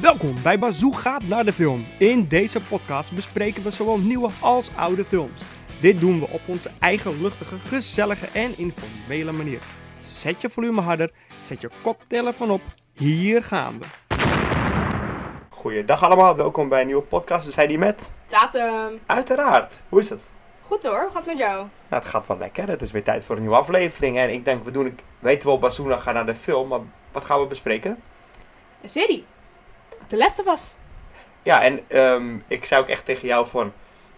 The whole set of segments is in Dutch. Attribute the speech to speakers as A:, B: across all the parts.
A: Welkom bij Bazoo gaat naar de film. In deze podcast bespreken we zowel nieuwe als oude films. Dit doen we op onze eigen luchtige, gezellige en informele manier. Zet je volume harder, zet je koptelefoon op. Hier gaan we. Goeiedag allemaal, welkom bij een nieuwe podcast. We zijn hier met,
B: Datum.
A: uiteraard, hoe is het?
B: Goed hoor, hoe gaat het met jou?
A: Nou, het gaat wel lekker. Het is weer tijd voor een nieuwe aflevering. En ik denk, we doen, ik weet wel, Bazuna gaat naar de film, maar wat gaan we bespreken?
B: Een serie. De Last of Us.
A: Ja, en ehm, ik zei ook echt tegen jou van,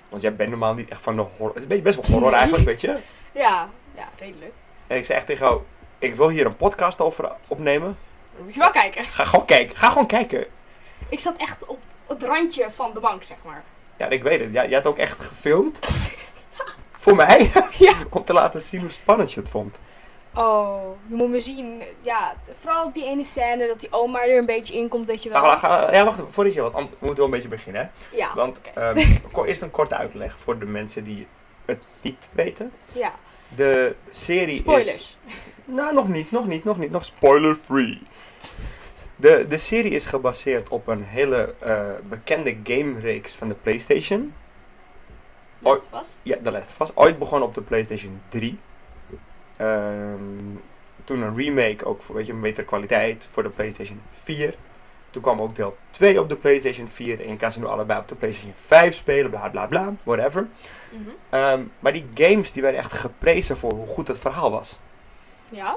A: want jij bent normaal niet echt van de horror. Het is een beetje- best wel horror eigenlijk, weet je.
B: Ja, ja, redelijk.
A: En ik zei echt tegen jou, ik wil hier een podcast over opnemen.
B: Dan moet je wel kijken.
A: Ga gewoon kijken, ga gewoon kijken.
B: Ik zat echt op het randje van de bank, zeg maar.
A: Ja, ik weet het. Jij, jij had ook echt gefilmd. voor mij.
B: Ja.
A: om te laten zien hoe spannend je het vond.
B: Oh, je moet me zien. Ja, vooral op die ene scène dat die oma er een beetje in komt, dat je wel...
A: Maar, ga- ja, wacht, even, voordat je wat, want we moeten wel een beetje beginnen. hè.
B: Ja,
A: Want
B: Ah, oké.
A: ehm, ko- eerst een korte uitleg voor de mensen die het niet weten.
B: ja.
A: De serie is...
B: Spoilers.
A: Nou, nog niet, nog niet, nog niet. Nog spoiler-free. De, de serie is gebaseerd op een hele eh, bekende game-reeks van de PlayStation.
B: Last of Us.
A: Ja, de Last of Us. Ooit begonnen op de PlayStation 3. Ehm, toen een remake, ook voor weet je, een betere kwaliteit, voor de PlayStation 4. Toen kwam ook deel 2 op de PlayStation 4. En je kan ze nu allebei op de PlayStation 5 spelen, bla bla bla, whatever.
B: Mhm.
A: Ehm, maar die games die werden echt geprezen voor hoe goed het verhaal was.
B: Ja.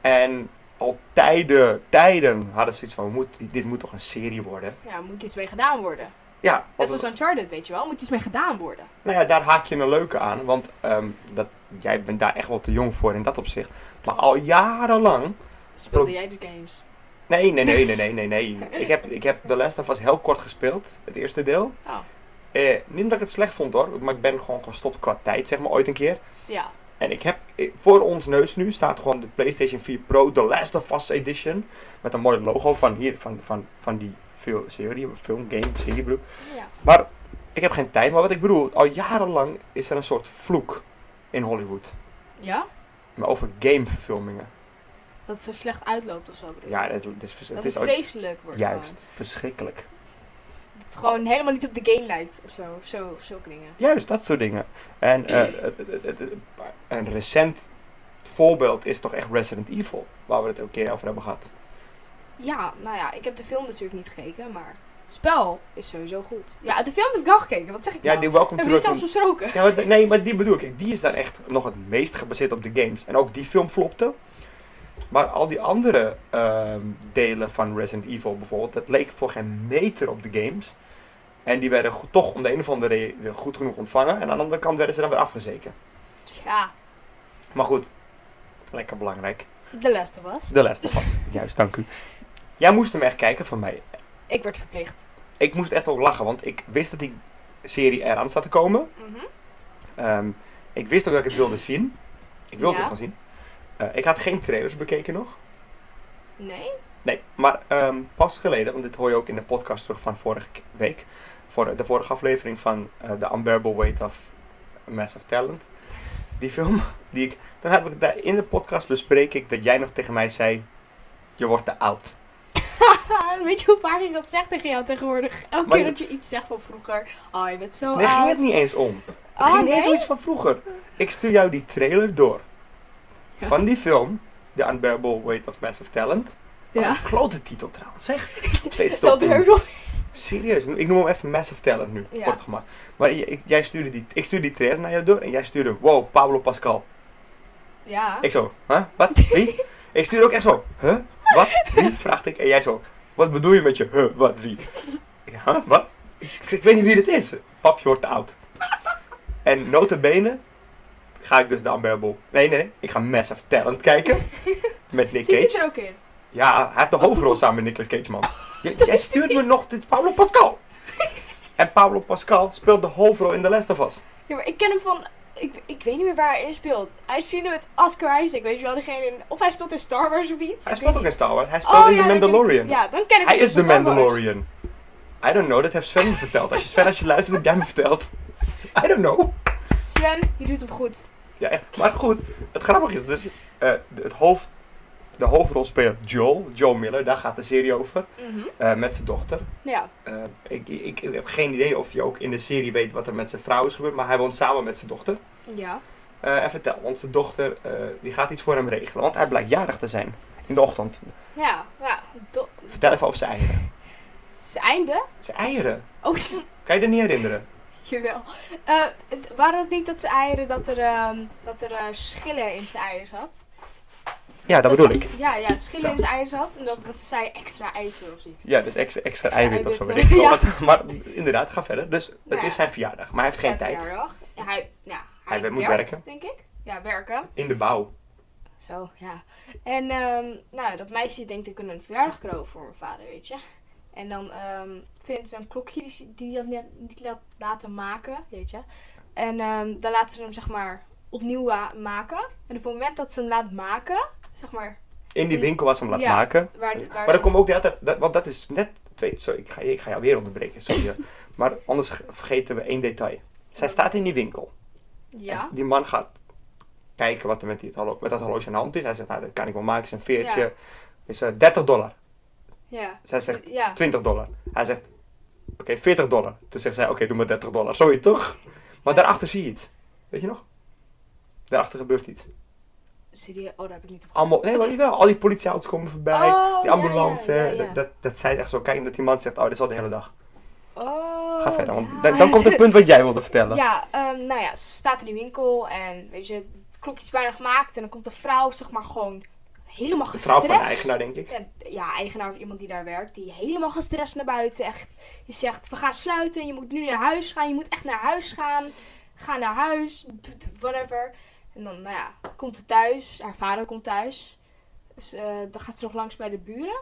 A: En al tijden, tijden hadden ze iets van, moet, dit moet toch een serie worden?
B: Ja, moet iets mee gedaan worden.
A: Ja,
B: Net
A: want,
B: zoals Uncharted, weet je wel. Moet iets mee gedaan worden.
A: nou ja, daar haak je een leuke aan. Want ehm, dat, jij bent daar echt wel te jong voor in dat opzicht. Maar al jarenlang...
B: Speelde
A: Pro-
B: jij de games?
A: Nee, nee, nee, nee, nee, nee, nee. Ik heb, ik heb The Last of Us heel kort gespeeld, het eerste deel.
B: Oh,
A: Eh, niet dat ik het slecht vond hoor, maar ik ben gewoon gestopt qua tijd, zeg maar, ooit een keer.
B: ja.
A: En ik heb eh, voor ons neus nu staat gewoon de PlayStation 4 Pro The Last of Us Edition. Met een mooi logo van hier, van, van, van die fil- serie, film, game, serie bedoel ik.
B: Ja.
A: Maar ik heb geen tijd. Maar wat ik bedoel, al jarenlang is er een soort vloek in Hollywood.
B: Ja?
A: Maar over gameverfilmingen.
B: Dat het zo slecht uitloopt of zo, bedoel je?
A: Ja, het, het is, vers-
B: Dat
A: het
B: het,
A: is ook
B: vreselijk wordt. gewoon.
A: juist verschrikkelijk.
B: Dat het gewoon helemaal niet op de game lijkt of zo. zo zulke dingen.
A: Juist, dat soort dingen. En eh, het- het- het- het- een recent voorbeeld is toch echt Resident Evil. Waar we het ook een keer over hebben gehad.
B: Ja, nou ja, ik heb de film natuurlijk niet gekeken, maar het spel is sowieso goed. Ja, de film heb ik wel gekeken, wat zeg ik
A: Ja,
B: nou?
A: die
B: We
A: Welcome to
B: hebben die
A: Raccoon-
B: zelfs besproken.
A: Ja, maar, nee, maar die bedoel ik. Die is dan echt nog het meest gebaseerd op de games. En ook die film flopte. Maar al die andere ehm, delen van Resident Evil bijvoorbeeld, dat leek voor geen meter op de games. En die werden goed- toch om de een of andere reden goed genoeg ontvangen. En aan de andere kant werden ze dan weer afgezeken.
B: Ja,
A: Maar goed, lekker belangrijk.
B: de Last of Us.
A: De les was. Juist, dank u. Jij moest hem echt kijken van mij.
B: Ik werd verplicht.
A: Ik moest echt ook lachen, want ik wist dat die serie eraan zat te komen.
B: Mhm.
A: Ehm, ik wist ook dat ik het wilde zien. Ik wilde
B: Ja.
A: het gaan zien. Eh, ik had geen trailers bekeken nog.
B: Nee?
A: Nee, maar ehm, pas geleden, want dit hoor je ook in de podcast terug van vorige k- week. Voor de vorige aflevering van eh The Unbearable Weight of Massive Talent. Die film, die ik. Dan heb ik daar in de podcast bespreek ik dat jij nog tegen mij zei: Je wordt te oud.
B: Weet je hoe vaak ik dat zeg tegen jou tegenwoordig? Elke
A: Maar
B: keer
A: je-
B: dat je iets zegt van vroeger. Oh, je bent zo
A: Nee,
B: oud.
A: ging het niet eens om. Het
B: Oh,
A: ging niet eens om
B: nee?
A: iets van vroeger. Ik stuur jou die trailer door.
B: Ja.
A: Van die film, The Unbearable Weight of Massive Talent. Wat
B: Ja.
A: een klote titel trouwens, zeg. Steeds
B: Dat
A: top.
B: durf ik nog.
A: Serieus, ik noem hem even Massive Talent nu,
B: Ja.
A: voor het gemak. Maar j- ik, jij stuurde die, ik stuurde die trailer naar jou door en jij stuurde, wow, Pablo Pascal.
B: Ja.
A: Ik zo, huh, wat, wie? ik stuurde ook echt zo, huh, wat, wie, vraagde ik. En jij zo, wat bedoel je met je, huh, wat, wie? Ik, huh, wat? Ik, zeg, ik weet niet wie dit is. Pap, je wordt te oud. En notabene ga ik dus de Unbearable, nee, nee, nee, ik ga Massive Talent kijken. Met Nick
B: Zie
A: Cage.
B: je er ook in?
A: Ja, hij heeft de hoofdrol samen met Nicolas Cage, man. J- jij stuurt me nog dit Pablo Pascal. En Pablo Pascal speelt de hoofdrol in The Last of Us.
B: Ja, maar ik ken hem van. Ik, ik weet niet meer waar hij in speelt. Hij is vrienden met Oscar Isaac, weet je wel, degene. in- of hij speelt in Star Wars of iets.
A: Hij
B: ik
A: speelt
B: weet
A: ook in
B: niet.
A: Star Wars. Hij speelt in
B: Oh ja,
A: The
B: dan ken ik-
A: Mandalorian.
B: ja, dan ken ik
A: hij
B: hem
A: is
B: van
A: de
B: Star Wars.
A: Mandalorian. I don't know, dat heeft Sven me verteld. Als je Sven, als je luistert, heb jij me verteld. I don't know.
B: Sven, je doet hem goed.
A: Ja, echt. Maar goed, het grappige is dus, eh, het hoofd de hoofdrol speelt Joel, Joel Miller, daar gaat de serie over,
B: Mhm.
A: eh, met zijn dochter.
B: Ja.
A: Eh, ik, ik, ik heb geen idee of je ook in de serie weet wat er met zijn vrouw is gebeurd, maar hij woont samen met zijn dochter.
B: Ja.
A: Eh, en vertel, want zijn dochter eh, die gaat iets voor hem regelen, want hij blijkt jarig te zijn in de ochtend.
B: Ja. Ja. Do-
A: Vertel even over zijn eieren.
B: zijn einde?
A: Zijn eieren?
B: Oh, zijn-
A: Kan je er niet herinneren?
B: jawel. Eh, het- waren het niet dat ze eieren, dat er, ehm, dat er eh, schillen in zijn eieren zat?
A: Ja, dat bedoel ik.
B: Ja, ja, schillen
A: Zo.
B: in zijn eieren zat. En dat, dat zij extra ijzer of zoiets.
A: Ja, dus extra, extra
B: Extra
A: eiwit of zo. Weet ik
B: eiwitten,
A: veel.
B: ja.
A: Wat- maar inderdaad, ga verder. Dus het
B: Nou ja.
A: is zijn verjaardag, maar hij heeft geen
B: Zijn
A: tijd.
B: verjaardag. Ja, hij, ja,
A: Hij moet
B: werkt,
A: werken.
B: denk ik. Ja, werken.
A: In de bouw.
B: Zo, ja. En ehm, nou, dat meisje denkt ik kan een verjaardag cadeau voor mijn vader, weet je. En dan ehm, vindt ze een klokje die ze- die hij net niet laat laten maken, weet je. En ehm, dan laat ze hem zeg maar opnieuw wa- maken. En op het moment dat ze hem laat maken, zeg maar...
A: In die
B: In-
A: winkel was hem laat
B: ja,
A: maken.
B: Waar, waar
A: Maar dan komt ook de hele tijd- dat, want dat is net twee. Sorry, ik ga, ik ga jou weer onderbreken. Sorry. hoor. maar anders ge- vergeten we één detail. Zij staat in die winkel.
B: Ja,
A: En die man gaat kijken wat er met, die, horlo- met dat horloge aan de hand is. Hij zegt, nou, dat kan ik wel maken. Het is een veertje.
B: Ja.
A: is eh, 30 dollar.
B: ja.
A: Zij zegt
B: Ja,
A: 20 dollar. Hij zegt, oké, 40 dollar. Toen zegt zij, oké, doe maar 30 dollar. Sorry, toch? Maar daarachter zie je het. Weet je nog? Daarachter gebeurt iets.
B: serieus? Oh, daar heb ik niet op
A: Allemaal, nee, maar niet wel. Al die politieauto's komen voorbij.
B: Oh,
A: die ambulance.
B: ja, ja, ja, ja.
A: Dat, dat, dat zij echt zo kijken dat die man zegt, oh, dit is al de hele dag.
B: Oh,
A: Ga verder, want
B: ja.
A: dan, dan komt het punt wat jij wilde vertellen.
B: Ja, ehm, nou ja, ze staat in die winkel en weet je, het klokje is bijna gemaakt en dan komt de vrouw zeg maar gewoon helemaal
A: de vrouw
B: gestrest.
A: van de eigenaar, denk ik.
B: Ja, ja, eigenaar of iemand die daar werkt, die helemaal gestrest naar buiten. Echt, je zegt, we gaan sluiten, je moet nu naar huis gaan, je moet echt naar huis gaan. Ga naar huis, doe- doe whatever. En dan, nou ja, komt ze thuis, haar vader komt thuis. Dus, eh, dan gaat ze nog langs bij de buren.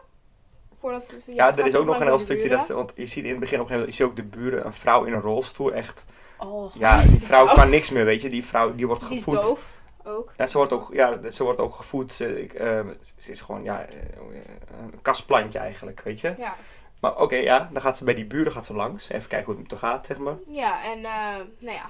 B: Voordat,
A: Ja,
B: gaat
A: er is
B: ze
A: ook nog een heel
B: langs bij de
A: stukje dat ze, want je ziet in het begin op een gegeven moment, je ziet ook de buren, een vrouw in een rolstoel, echt.
B: buren. Oh,
A: Ja, die vrouw kan niks meer, weet je. Die vrouw, die wordt
B: Die is
A: gevoed.
B: doof ook.
A: Ja, ze wordt ook, ja, ze wordt ook gevoed. Ze, ik, eh, ze is gewoon, ja, eh, een kastplantje eigenlijk, weet je.
B: Ja.
A: Maar oké, ja, dan gaat ze bij die buren gaat ze langs. Even kijken hoe het er gaat, zeg maar.
B: Ja, en eh, nou ja.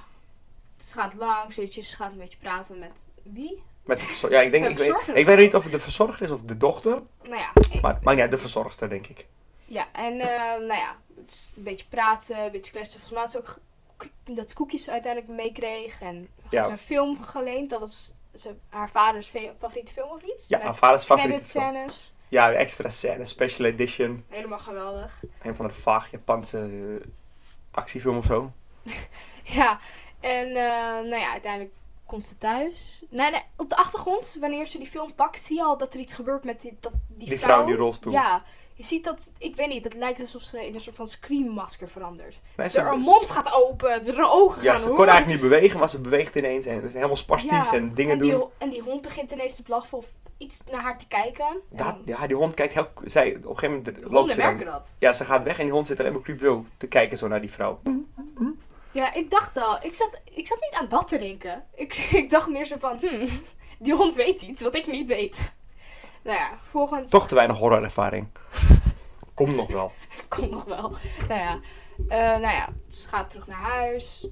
B: Ze gaat langs, weet je, ze gaat een beetje praten met wie?
A: Met de verzor- ja, ik denk,
B: De
A: ik weet,
B: verzorger.
A: ik weet niet of het de verzorger is of de dochter.
B: Nou ja.
A: Maar het maakt niet uit, de verzorgster, denk ik.
B: Ja, en eh, nou ja, het is een beetje praten, een beetje kletsen. Volgens mij had ze ook ge- koek- dat ze koekjes uiteindelijk meekreeg. En had
A: Ja.
B: ze een film geleend, dat was ze, haar vaders fe- favoriete film of iets?
A: Ja,
B: Met
A: haar vaders favoriete film.
B: scènes.
A: Ja, de extra scène, special edition.
B: Helemaal geweldig.
A: Een van de vaag Japanse eh, actiefilm of zo.
B: Ja, en eh, nou ja, uiteindelijk komt ze thuis. Nee, nee, op de achtergrond, wanneer ze die film pakt, zie je al dat er iets gebeurt met die, dat, die,
A: Die vrouw in die rolstoel.
B: Ja, je ziet dat, ik weet niet, het lijkt alsof ze in een soort van screammasker verandert.
A: Nee,
B: De haar mond gaat open, de haar ogen
A: ja,
B: gaan
A: ze
B: hoor.
A: kon eigenlijk niet bewegen, maar ze beweegt ineens. En is helemaal spastisch
B: Ja,
A: en dingen
B: en die,
A: doen.
B: ho- En die hond begint ineens te blaffen of iets naar haar te kijken. En
A: Dat,
B: dan-
A: ja, die hond kijkt heel... Zij, op een gegeven moment loopt
B: honden
A: ze
B: merken
A: dan.
B: dat.
A: Ja, ze gaat weg en die hond zit alleen maar creepy te kijken zo naar die vrouw.
B: Ja, ik dacht al, ik zat, ik zat niet aan dat te denken. Ik, ik dacht meer zo van, hmm, die hond weet iets wat ik niet weet. Nou ja, volgens...
A: Toch te weinig horrorervaring. Kom nog wel.
B: Komt nog wel. Nou ja. eh, nou ja, ze gaat terug naar huis.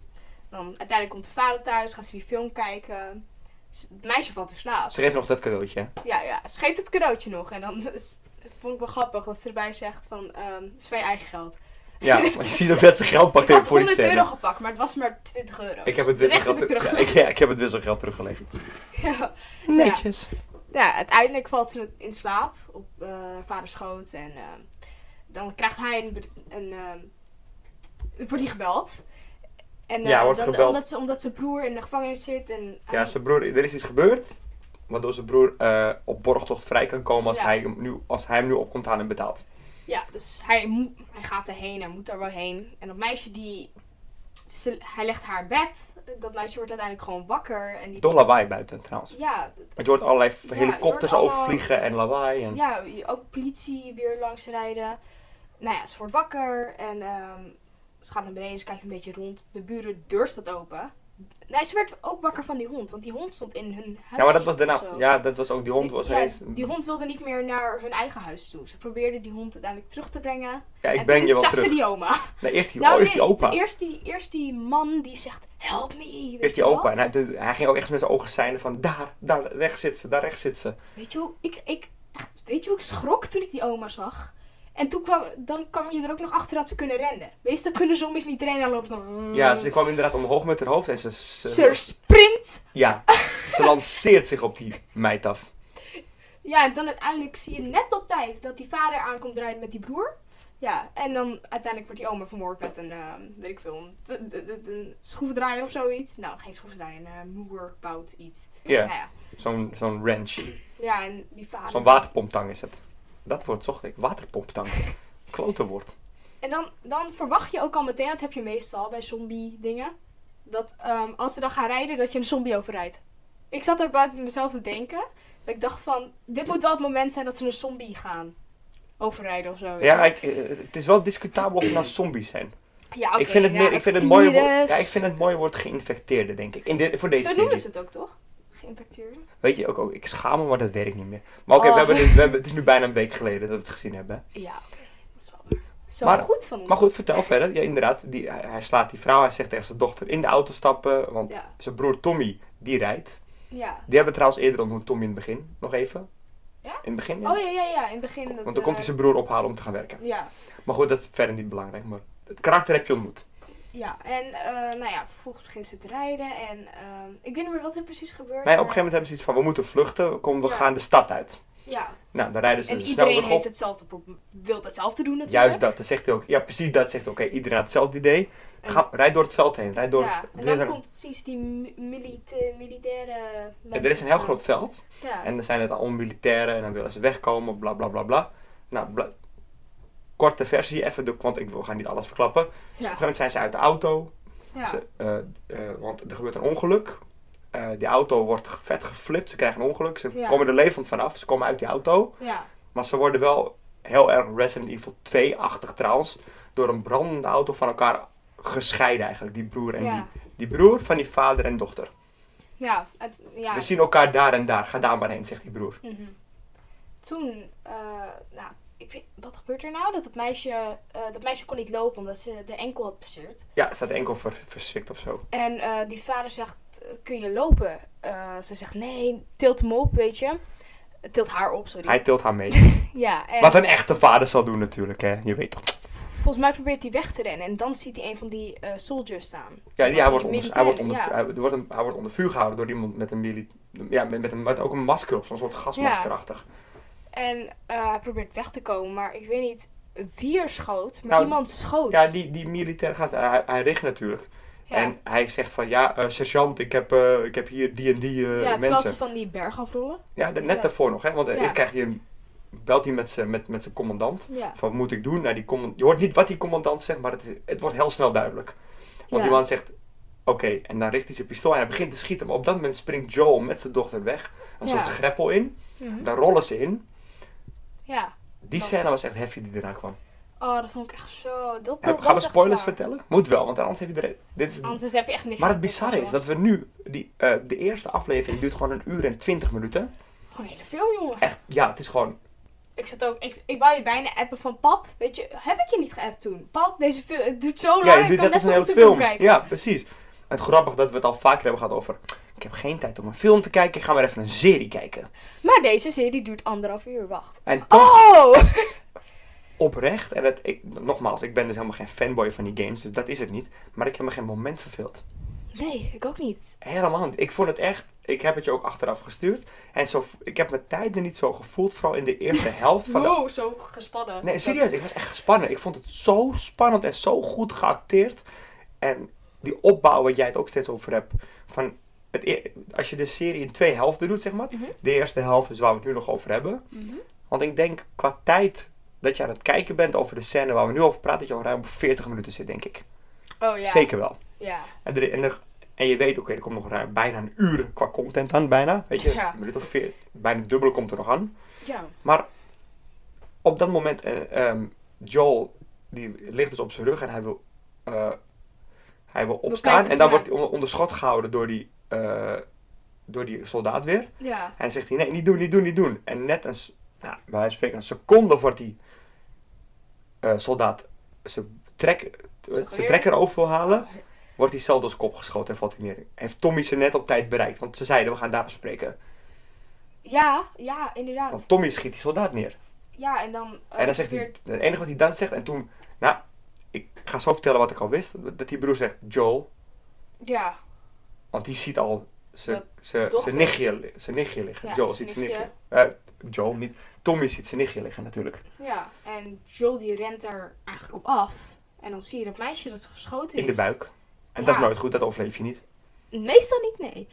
B: Dan uiteindelijk komt de vader thuis, gaat ze die film kijken. Ze- Het meisje valt in slaap.
A: Ze geeft nog dat cadeautje. hè.
B: Ja, ja, ze geeft het cadeautje nog. En dan is- vond ik wel grappig dat ze erbij zegt van, ehm het is van je eigen geld.
A: Ja, want je ziet ook dat ze geld pakt
B: ik
A: heeft
B: had
A: voor die
B: 100 euro
A: scène.
B: gepakt, maar het was maar 20 euro.
A: Ik heb
B: Dus
A: het
B: de rest
A: wisselgeld
B: heb ik
A: ja, ik,
B: teruggelegd.
A: ja, ik heb het wisselgeld teruggeleverd.
B: Ja.
A: Netjes.
B: Ja, uiteindelijk valt ze in slaap op eh vaders schoot. En ehm, dan krijgt hij een... ber- een ehm, wordt hij gebeld. En, eh,
A: Ja, wordt
B: dan-
A: gebeld.
B: Omdat, ze, omdat zijn broer in de gevangenis zit. En
A: Ja,
B: hij-
A: zijn broer, er is iets gebeurd. Waardoor zijn broer eh, op borgtocht vrij kan komen als,
B: Ja.
A: hij hem nu, als hij hem nu op komt halen en betaalt.
B: ja, dus hij, moet- hij gaat erheen. Hij moet daar wel heen. En dat meisje die... ze- hij legt haar in bed. Dat meisje wordt uiteindelijk gewoon wakker. En die,
A: Door lawaai buiten trouwens.
B: ja, d-
A: Want je hoort allerlei
B: je
A: helikopters
B: hoort allemaal-
A: overvliegen en lawaai. En...
B: ja, je- ook politie weer langs rijden. Nou ja, ze wordt wakker en ehm, ze gaat naar beneden, ze kijkt een beetje rond. De buren deur staat open. Nee, ze werd ook wakker van die hond, want die hond stond in hun huis.
A: Ja, maar dat was
B: of
A: daarna.
B: zo.
A: Ja, dat was ook die hond was
B: die, ja,
A: ineens.
B: die hond wilde niet meer naar hun eigen huis toe. Ze probeerde die hond uiteindelijk terug te brengen.
A: Ja, ik
B: en
A: breng
B: toen
A: je wel
B: zag
A: terug.
B: ze die oma.
A: Nee, eerst die,
B: Nou,
A: oh, eerst die
B: nee,
A: opa.
B: Eerst die, eerst die man die zegt, help me. weet
A: Eerst die
B: je wel?
A: opa. En hij, de- hij ging ook echt met zijn ogen seinen van daar, daar rechts zit ze, daar rechts zit ze.
B: Weet je hoe, ik, ik, echt, weet je hoe ik schrok toen ik die oma zag? En toen kwam, dan kwam je er ook nog achter dat ze kunnen rennen. Meestal kunnen zombies niet rennen, dan lopen ze dan...
A: Ja, ze kwam inderdaad omhoog met haar hoofd en ze... ze-
B: Mm. Ze sprint!
A: Ja, ze lanceert zich op die meid af.
B: Ja, en dan uiteindelijk zie je net op tijd dat die vader aankomt draaien met die broer. Ja, en dan uiteindelijk wordt die oma vermoord met een, eh, weet ik veel, een, t- t- t- een schroevendraaier of zoiets. Nou, geen schroevendraaier, een eh, moer, bout, iets. Nou
A: Ja,
B: ja.
A: zo'n zo'n wrench.
B: ja, en die vader...
A: Zo'n waterpomptang is het. Dat woord zocht ik. Waterpomptang. Klote woord.
B: En dan, dan verwacht je ook al meteen, dat heb je meestal bij zombie dingen, dat ehm, als ze dan gaan rijden, dat je een zombie overrijdt. Ik zat daar buiten mezelf te denken. Dat ik dacht van, dit moet wel het moment zijn dat ze een zombie gaan overrijden of zo. weet
A: Ja,
B: je.
A: ik, eh, het is wel discutabel of het nou zombies zijn.
B: ja oké,
A: ik vind het,
B: ja,
A: meer, ik vind het mooie woord,
B: virus.
A: ja, ik vind het mooie woord geïnfecteerde, denk ik. In de, voor deze
B: Zo
A: serie.
B: noemen ze het ook, toch? Geïnfecteerde.
A: Weet je, ook, ook, ik schaam me, maar dat weet ik niet meer. Maar oké,
B: Oh.
A: we hebben dit- we hebben- het is nu bijna een week geleden dat we het gezien hebben. hè.
B: Ja, oké. Dat is wel waar. Zo
A: Maar-
B: goed van ons.
A: Maar goed, vertel verder. Ja, inderdaad, die, hij, hij slaat die vrouw. Hij zegt tegen zijn dochter in de auto stappen, want
B: Ja.
A: zijn broer Tommy, die rijdt.
B: Ja.
A: Die hebben we trouwens eerder ontmoet, Tommy in het begin. Nog even.
B: Ja?
A: In het begin, ja.
B: Oh ja, ja, ja. In het begin. Dat,
A: Want dan komt hij
B: eh,
A: zijn broer ophalen om te gaan werken.
B: Ja.
A: Maar goed, dat is verder niet belangrijk. Maar het karakter heb je ontmoet.
B: Ja, en eh, nou ja, vervolgens begint ze te rijden en ehm, ik weet niet meer wat er precies gebeurt.
A: Nee, op een gegeven
B: maar-
A: moment hebben ze iets van, we moeten vluchten, kom, we
B: Ja.
A: gaan de stad uit.
B: Ja,
A: Nou, dan rijden ze
B: en
A: de snelweg
B: iedereen
A: op.
B: heeft hetzelfde probleem. Wil hetzelfde doen natuurlijk.
A: Juist dat, dat zegt hij ook. Ja, precies dat zegt hij ook. Oké, iedereen had hetzelfde idee. Ga, rijd door het veld heen, rijd door
B: ja,
A: het...
B: en
A: er is
B: dan
A: een-
B: komt sinds die mi- milita- militaire
A: er is een heel groot veld.
B: Ja,
A: En dan zijn het allemaal militairen en dan willen ze wegkomen, bla bla bla bla. Nou, bla- korte versie, even, de, want ik wil gaan niet alles verklappen. Dus op een
B: ja,
A: gegeven moment zijn ze uit de auto,
B: ja.
A: ze, eh, eh, want er gebeurt een ongeluk. Eh, die auto wordt ge- vet geflipt, ze krijgen een ongeluk, ze
B: Ja.
A: komen er levend vanaf, ze komen uit die auto.
B: ja.
A: Maar ze worden wel heel erg Resident Evil 2-achtig trouwens, door een brandende auto van elkaar gescheiden eigenlijk, die broer en
B: Ja.
A: die. Die broer van die vader en dochter.
B: Ja, het- ja.
A: We zien elkaar daar en daar, ga daar maar heen, zegt die broer.
B: Mhm. Toen, eh, nou, ik weet, wat gebeurt er nou? Dat het meisje, eh, dat meisje kon niet lopen omdat ze de enkel had bezeerd.
A: Ja, staat enkel ver, verswikt of zo.
B: En eh, die vader zegt, eh, kun je lopen? Eh, ze zegt, nee, tilt hem op, weet je. Tilt haar op, sorry.
A: Hij tilt haar mee.
B: Ja, en
A: Wat een echte vader zal doen natuurlijk, hè. Je weet toch.
B: volgens mij probeert hij weg te rennen. En dan ziet hij een van die eh, soldiers staan.
A: Ja, die, hij, wordt
B: Die
A: onder, hij, wordt onder,
B: militairen,
A: hij, wordt een, hij wordt onder vuur gehouden door iemand met een mili... Ja, met, met, een, met ook een masker op, zo'n soort gasmaskerachtig.
B: En eh, hij probeert weg te komen, maar ik weet niet wie er schoot, maar
A: Nou,
B: iemand schoot.
A: Ja, die, die militair gaat... Hij, hij richt natuurlijk.
B: Ja.
A: En eh, hij zegt van, ja, eh, sergeant, ik heb, eh, ik heb hier die en die eh,
B: ja, terwijl
A: mensen.
B: ze van die berg afrollen.
A: Ja, de- net
B: Ja.
A: daarvoor nog, hè. Want eh,
B: Ja.
A: ik krijg hier... een- Belt hij met zijn met, met zijn commandant.
B: Ja.
A: Van, wat moet ik doen? Nou, die command- je hoort niet wat die commandant zegt, maar het, is- het wordt heel snel duidelijk. Want
B: Ja.
A: die man zegt, oké, en dan richt hij zijn pistool en hij begint te schieten. Maar op dat moment springt Joel met zijn dochter weg, een
B: Ja.
A: soort greppel in.
B: Mhm.
A: Daar rollen ze in.
B: ja.
A: Die
B: Oh.
A: scène was echt heftig die eraan kwam.
B: Oh, dat vond ik echt zo... Dat, dat,
A: Ja,
B: dat
A: gaan we
B: was echt
A: spoilers
B: zwaar. Oh,
A: vertellen? Moet wel, want anders heb je er... Dit is...
B: Anders heb je echt niks
A: Maar het
B: aan- niks aan
A: bizarre is dat
B: zoals-
A: we nu... Die, eh, de eerste aflevering duurt gewoon een uur en twintig minuten.
B: Gewoon een hele film, jongen.
A: Echt, ja, het is gewoon...
B: Ik zat ook... Ik, ik wou je bijna appen van... Pap, weet je... Heb ik je niet geappt toen? Pap, deze film... Het duurt zo lang.
A: Ja, je
B: ik
A: duurt
B: kan
A: net
B: net
A: als
B: zo
A: een hele
B: goed een film
A: film.
B: kijken.
A: Ja, precies. Het grappige dat we het al vaker hebben gehad over... Ik heb geen tijd om een film te kijken, ik ga maar even een serie kijken.
B: Maar deze serie duurt anderhalf uur. Wacht.
A: En toch...
B: Oh!
A: oprecht. En het, ik, nogmaals, ik ben dus helemaal geen fanboy van die games, dus dat is het niet. Maar ik heb me geen moment verveeld.
B: Nee, ik ook niet.
A: Helemaal niet. Ik vond het echt, ik heb het je ook achteraf gestuurd. En zo, ik heb mijn tijden niet zo gevoeld, vooral in de eerste helft van de...
B: Wow, zo gespannen.
A: Nee, serieus, ik was echt gespannen. Ik vond het zo spannend en zo goed geacteerd. En die opbouw waar jij het ook steeds over hebt, van... Het, eer- als je de serie in twee helften doet, zeg maar.
B: Mhm.
A: De eerste helft is waar we het nu nog over hebben.
B: Mhm.
A: Want ik denk qua tijd dat je aan het kijken bent over de scène waar we nu over praten, dat je al ruim op 40 minuten zit, denk ik.
B: Oh ja.
A: Zeker wel.
B: Ja.
A: En, er, en, er- en je weet, oké, er komt nog ruim, bijna een uur qua content aan, bijna. Weet je,
B: Ja.
A: een minuut of veer, bijna het dubbele komt er nog aan.
B: Ja.
A: Maar op dat moment, eh, ehm, Joel, die ligt dus op zijn rug en hij wil, eh, hij wil opstaan.
B: kijken,
A: en dan
B: ja.
A: wordt hij onder, onder schot gehouden door die, eh, door die soldaat weer.
B: Ja.
A: En dan zegt hij, nee, niet doen, niet doen, niet doen. En net een, s- nou, bij wijze van spreken, een seconde voor die eh, soldaat zijn trek,
B: geweer?
A: zijn trekker over wil halen, wordt hij zelf door zijn kop geschoten en valt hij neer. Heeft Tommy ze net op tijd bereikt, want ze zeiden, we gaan daar spreken.
B: Ja, ja, inderdaad.
A: Want Tommy schiet die soldaat neer.
B: Ja, en dan... eh,
A: en dan zegt hij,
B: probeert-
A: het enige wat hij dan zegt, en toen, nou, ik ga zo vertellen wat ik al wist, dat die broer zegt Joel,
B: Ja,
A: want die ziet al zijn
B: Dat dochter.
A: nichtje, li- zijn nichtje liggen.
B: Ja,
A: Joel
B: zijn
A: ziet zijn nichtje.
B: nichtje.
A: Eh, Joel, niet. Tommy ziet zijn nichtje liggen natuurlijk.
B: ja. En Joel die rent er eigenlijk op af. En dan zie je dat meisje dat geschoten is.
A: In de buik. En dat is
B: Ja.
A: nooit goed, dat overleef je niet.
B: Meestal niet, nee.